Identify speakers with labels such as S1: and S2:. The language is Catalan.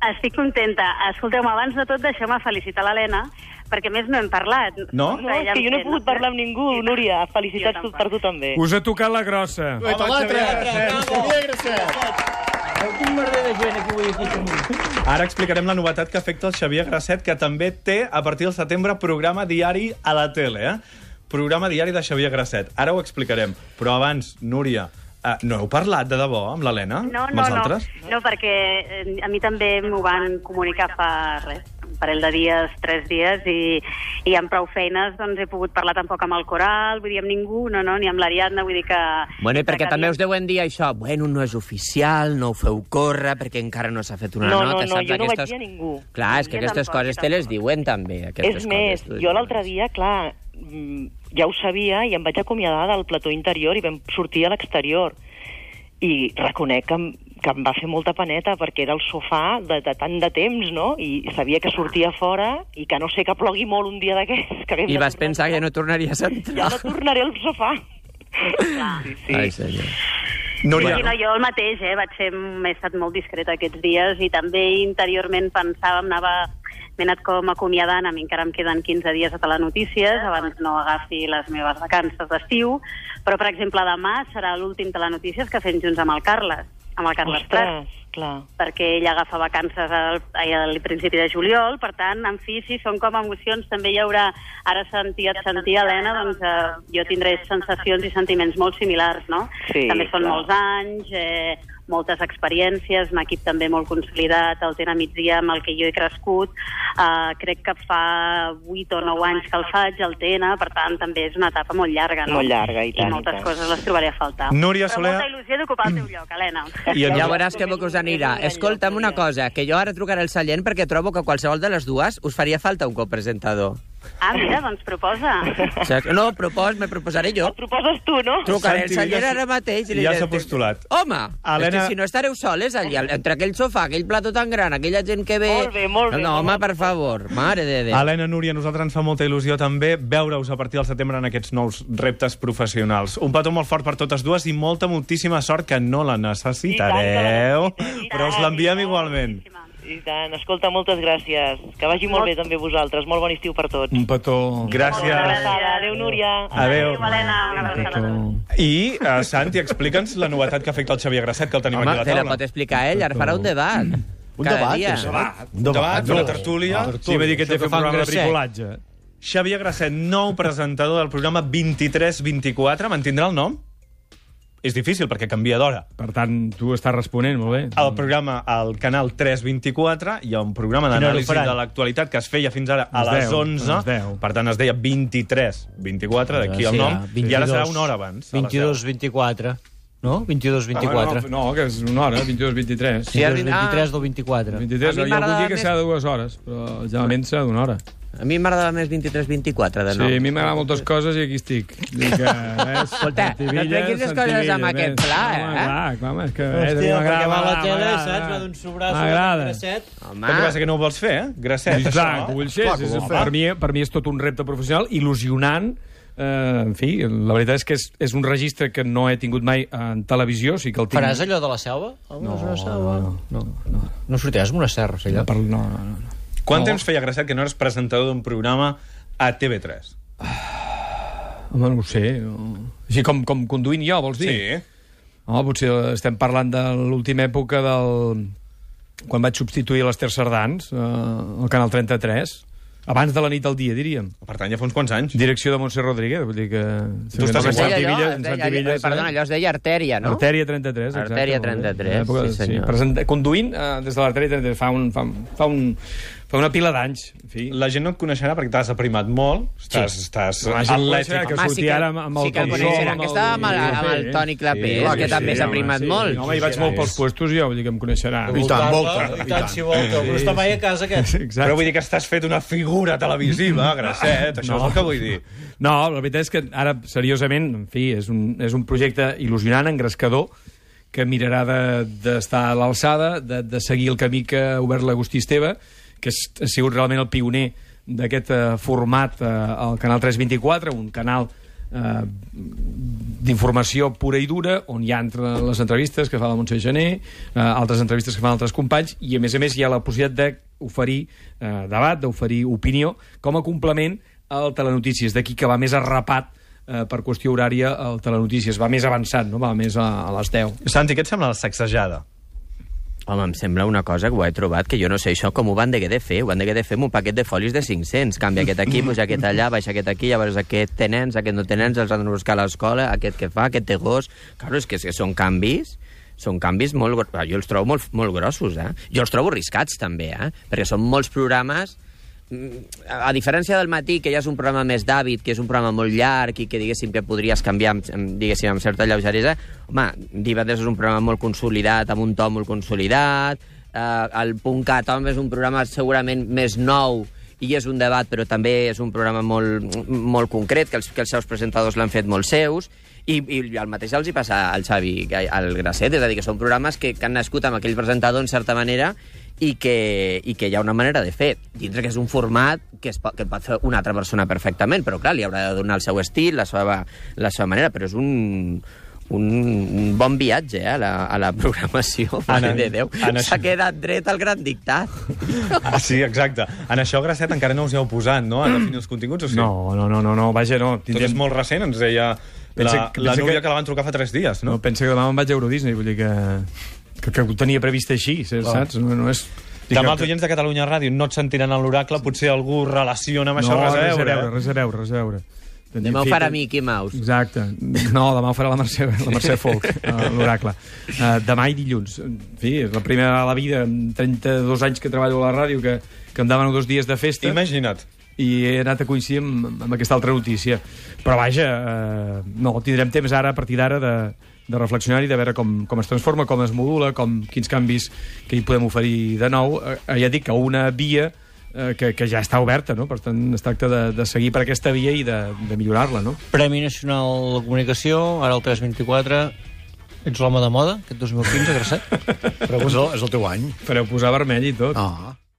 S1: Estic contenta. Escolteu-me, abans de tot deixeu-me felicitar l'Helena, perquè a més no hem parlat.
S2: No?
S1: Clar,
S3: No, és
S1: ja
S3: que jo no he
S1: entén.
S3: pogut parlar amb ningú, Núria. Felicitats
S1: eh, Jo tampoc.
S3: per tu també.
S4: Us ha tocat la grossa.
S2: Home, Xavier Gracet, Xavier Gracet.
S5: Quin merder de gent aquí avui aquí.
S2: Ara explicarem la novetat que afecta el Xavier Gracet, que també té, a partir del setembre, programa diari a la tele. Eh? Programa diari de Xavier Gracet. Ara ho explicarem. Però abans, Núria, eh, no heu parlat de debò amb l'Helena?
S1: No,
S2: amb
S1: no,
S2: els
S1: no,
S2: altres?
S1: no, perquè eh, a mi també m'ho van comunicar fa res, un parell de dies, tres dies, i, i amb prou feines doncs, he pogut parlar tampoc amb el coral, vull dir, amb ningú, no, no, ni amb l'Ariadna, vull dir que...
S5: Bueno, i perquè
S1: que
S5: també
S1: calia.
S5: us deuen dir això, bueno, no és oficial, no ho feu córrer, perquè encara no s'ha fet una
S3: No, no,
S5: nota,
S3: no,
S5: saps?
S3: jo no vaig
S5: Aquestes-
S3: dir a ningú.
S5: Clar, és que
S1: Jo
S5: aquestes
S1: tampoc,
S5: coses
S1: jo
S5: te les
S1: tampoc.
S5: diuen també, aquestes
S3: És més,
S5: coses.
S3: jo l'altre dia, clar, mm, ja ho sabia i em vaig acomiadar del plató interior i vam sortir a l'exterior. I reconec que em, que em va fer molta paneta perquè era el sofà de, de tant de temps, no? I sabia que sortia fora i que no sé que plogui molt un dia d'aquests. que haguem
S5: I
S3: de
S5: vas
S3: tornar
S5: pensar
S3: a
S5: que no tornaries a
S3: Ja
S5: entrar.
S3: no tornaré al sofà. Sí, sí.
S5: Ai, senyor.
S2: Núria,
S1: Sí, no, jo el mateix, eh? Vaig ser, he estat molt discreta aquests dies i també interiorment pensàvem, anava, m'he anat com acomiadant, a mi encara em queden 15 dies a Telenotícies, abans no agafi les meves vacances d'estiu, però, per exemple, demà serà l'últim Telenotícies que fem junts amb el Carles, amb el Carles Prat
S3: Ostres, clar.
S1: perquè ell agafa vacances al, ai, al principi de juliol, per tant, en fi, sí, són com emocions, també hi haurà, ara sentia, et sentia Helena, doncs eh, jo tindré sensacions i sentiments molt similars, no?
S3: Sí,
S1: també són
S3: clar.
S1: molts anys, eh, moltes experiències, un equip també molt consolidat, el Tena Migdia, amb el que jo he crescut, eh, crec que fa 8 o 9 anys que el faig, el Tena, per tant, també és una etapa molt llarga, no?
S3: Molt llarga, i tant,
S1: I
S3: i
S1: moltes
S3: tant.
S1: coses les trobaré a faltar.
S2: Núria
S1: Però
S2: Soler-
S1: molta il·lusió d'ocupar el teu lloc, Helena.
S2: i en...
S5: Ja veuràs que bé que us anirà. Escolta'm una cosa, que jo ara trucaré al Sallent perquè trobo que qualsevol de les dues us faria falta un copresentador.
S1: Ah, mira, doncs proposa.
S5: Saps? No, propos, me proposaré jo.
S3: Et proposes tu, no?
S5: Trucaré al
S2: Santi
S5: Sallent
S2: ja s-
S5: ara mateix. i li
S2: ja
S5: diré,
S2: s'ha postulat.
S5: Home,
S2: Helena-
S5: Helena... és que si no estareu soles allà, entre aquell sofà, aquell plató tan gran, aquella gent que ve...
S3: Molt bé, molt bé,
S5: No, home,
S3: molt bé.
S5: per favor, mare de Déu.
S2: Helena, Núria, a nosaltres ens fa molta il·lusió també veure-us a partir del setembre en aquests nous reptes professionals. Un petó molt fort per totes dues i molta, moltíssima sort que no la necessitareu,
S3: I tant que la necessitem,
S2: però us l'enviem igualment.
S3: I tant, escolta, moltes gràcies. Que vagi molt bé també vosaltres. Molt bon estiu per tots.
S4: Un petó.
S1: Moltes
S2: Gràcies.
S1: gràcies.
S3: Adéu, Núria.
S2: Adéu.
S1: Adéu, Helena. Una abraçada.
S2: I, uh, Santi, explica'ns la novetat que afecta el Xavier Grasset, que el tenim
S5: Home,
S2: aquí a
S5: te
S2: la
S5: la
S2: taula.
S5: pot explicar ell, ara farà un debat.
S6: Un
S5: Cada
S6: debat,
S5: dia.
S6: és un debat.
S2: Un debat, una tertúlia.
S4: Sí, va dir que té
S5: que
S4: que fer un
S5: fa un
S4: programa de
S5: grasset.
S4: bricolatge.
S2: Xavier Grasset, nou presentador del programa 2324, mantindrà el nom? És difícil, perquè canvia d'hora.
S4: Per tant, tu estàs responent, molt bé.
S2: El programa, al canal 324, hi ha un programa
S6: Quina hora ho
S2: d'anàlisi
S6: faran?
S2: de l'actualitat que es feia fins ara a
S4: A les
S2: les
S4: 10,
S2: 11.
S4: a les 10.
S2: Per tant, es deia 2324, d'aquí el
S6: Sí,
S2: nom.
S6: ah,
S2: I ara serà
S6: 22,
S2: una hora abans. a les
S6: 22, 24. No? 22, 24.
S4: Ah, no, no, que és una hora, 22, 23.
S5: Sí, el
S6: 22,
S5: "Ah,
S6: 23 del 24.
S4: 23,
S5: A mi
S4: jo vull
S5: m'agrada
S4: dir que
S5: més-
S4: serà dues hores, però generalment serà d'una hora.
S5: A mi m'agradava més 23-24 de
S4: Sí,
S5: nou.
S4: a mi m'agraden moltes coses i aquí estic. Dic, que, ves,
S5: Escolta, no
S4: Santivilla,
S5: treguis les coses
S4: Santivilla,
S5: amb aquest
S4: ves.
S5: pla,
S4: Home,
S5: eh?
S4: clar, clar, home, és que ves, a mi
S6: Hòstia, perquè va a la
S4: m'agrada,
S6: tele,
S4: m'agrada,
S6: saps? Va d'un sobrazo,
S4: M'agrada.
S6: d'un grasset.
S2: deu. El que passa
S5: Home,
S2: que no ho vols fer, eh? Grasset,
S4: I
S2: això. eh?
S4: clar, que ho vull ser.
S6: Clar que
S4: és,
S6: ho
S4: és,
S6: vol fer.
S4: per, mi, per mi és tot un repte professional il·lusionant. Eh, en fi, la veritat és que és, és un registre que no he tingut mai en televisió, o sigui que el tinc...
S6: Faràs allò de la selva? No, no, no, no, no. No sortiràs amb una serra, allò?
S4: No, per- no, no, no.
S2: Quant temps feia Grasset que no eres presentador d'un programa a TV3?
S4: Home, no ho sé. No. Així com, com conduint jo, vols dir? Home, potser estem parlant de l'última època del... quan vaig substituir l'Ester Sardans, eh, al Canal 33. Abans de la nit al dia, diríem.
S2: Per tant, ja fa uns quants anys.
S4: Direcció de Montse Rodríguez, vull dir que...
S2: Tu estàs
S4: en
S5: es deia
S2: Santi
S5: allò,
S4: Villa-
S5: es
S4: en
S5: deia,
S4: Santi Villa,
S5: allò, perdona, allò es deia artèria, no?
S4: Artèria 33, exacte.
S5: Artèria
S4: molt bé.
S5: 33,
S4: En l'època de-
S5: sí, senyor.
S4: presenta- conduint eh, des de l'artèria 33 fa, un, fa, un- fa, un, fa una pila d'anys. En fi.
S2: La gent no et coneixerà perquè t'has aprimat molt, estàs, sí. estàs Ah,
S4: La gent coneixerà
S2: atlètic.
S4: que
S5: Home,
S4: surti
S5: sí que-
S4: ara amb, amb el
S5: sí que el
S4: Toni
S5: coneixerà,
S4: Sol, amb
S5: que
S4: el-
S5: estava amb el- amb el
S4: Sí,
S5: Toni Clapés,
S4: clar
S5: que també s'ha
S4: home,
S5: primat
S4: sí.
S5: molt.
S4: Home, i vaig molt pels puestos i ja vull dir que em coneixerà.
S6: I tant, volta. I tant, si volta. Però està mai a casa, aquest.
S4: Exacte.
S2: Però vull dir que estàs fet una figura televisiva, Grasset, això no. és el que vull dir.
S4: No, la veritat és que ara, seriosament, en fi, és un, és un projecte il·lusionant, engrescador, que mirarà de- d'estar de, a l'alçada, de, de seguir el camí que ha obert l'Agustí Esteve, que és- ha sigut realment el pioner d'aquest eh, format eh, al Canal 324, un canal eh, d'informació pura i dura, on hi ha entre les entrevistes que fa la Montse Gené, eh, altres entrevistes que fan altres companys, i a més a més hi ha la possibilitat d'oferir eh, debat, d'oferir opinió, com a complement al Telenotícies, d'aquí que va més arrapat eh, per qüestió horària el Telenotícies, va més avançat, no? va més a, a les 10.
S2: Santi, què et sembla la sacsejada?
S5: Home, em sembla una cosa que ho he trobat, que jo no sé això com ho van deguer de fer. Ho van deguer de fer amb un paquet de folis de 500. Canvia aquest aquí, puja aquest allà, baixa aquest aquí, llavors aquest té nens, aquest no té nens, els han de buscar a l'escola, aquest que fa, aquest té gos... Claro, és que, és que són canvis són canvis molt... gros- Ah, Jo els trobo molt, molt grossos, eh? Jo els trobo arriscats, també, eh? Perquè són molts programes Mm, a a diferència del matí, que ja és un programa més d'hàbit, que és un programa molt llarg i que diguéssim que podries canviar, amb- amb, diguéssim, amb certa lleugeresa, home, Divades és un programa molt consolidat, amb un to molt consolidat, eh, el punt cat, home, és un programa segurament més nou i és un debat, però també és un programa molt, molt concret, que els, que els seus presentadors l'han fet molt seus, i, i el mateix els hi passa al Xavi, al Gracet, és a dir, que són programes que, que han nascut amb aquell presentador, en certa manera, i que, i que hi ha una manera de fer, dintre que és un format que, es pot, que pot fer una altra persona perfectament, però clar, li haurà de donar el seu estil, la seva, la seva manera, però és un, un, un bon viatge eh, a, la, a la programació,
S2: Anna,
S5: mare de Déu.
S2: Anna,
S5: S'ha
S2: això-
S5: quedat dret al gran dictat.
S2: Ah, sí, exacte. En això, Gracet, encara no us hi heu posat, no?, a definir els continguts, o sí?
S4: No, no, no, no, no vaja, no.
S2: Tot és molt recent, ens deia
S4: Pensa
S2: la,
S4: que-
S2: la
S4: pensa
S2: Núria
S4: que-
S2: que... la van trucar fa 3 dies,
S4: No,
S2: no?
S4: pensa que demà me'n vaig a Euro Disney, vull dir que, que, que ho tenia previst així, saps? No, no és...
S2: Demà els oients de Catalunya Ràdio no et sentiran a l'oracle, potser algú relaciona amb
S4: No,
S2: això res a veure. eh?
S4: res a veure, res a veure.
S5: Demà ho farà Mickey Mouse.
S4: Exacte. No, demà ho farà la Mercè, la Mercè Folk, eh, l'oracle. Eh, demà i dilluns. En fi, és la primera vegada a la vida, amb 32 anys que treballo a la ràdio, que, que em demano dos dies de festa
S2: Imagina't.
S4: i he anat a coincidir amb, amb aquesta altra notícia. Però vaja, eh, no, tindrem temps ara, a partir d'ara, de, de reflexionar i de veure com, com es transforma, com es modula, com, quins canvis que hi podem oferir de nou. Eh, ja dic que una via eh, que, que ja està oberta, no? Per tant, es tracta de, de seguir per aquesta via i de, de millorar-la, no?
S6: Premi Nacional de Comunicació, ara el 324. Ets l'home de moda, aquest 2015, Gracet?
S7: Però és el, és el teu any.
S4: Fareu posar vermell i tot.
S7: Ah.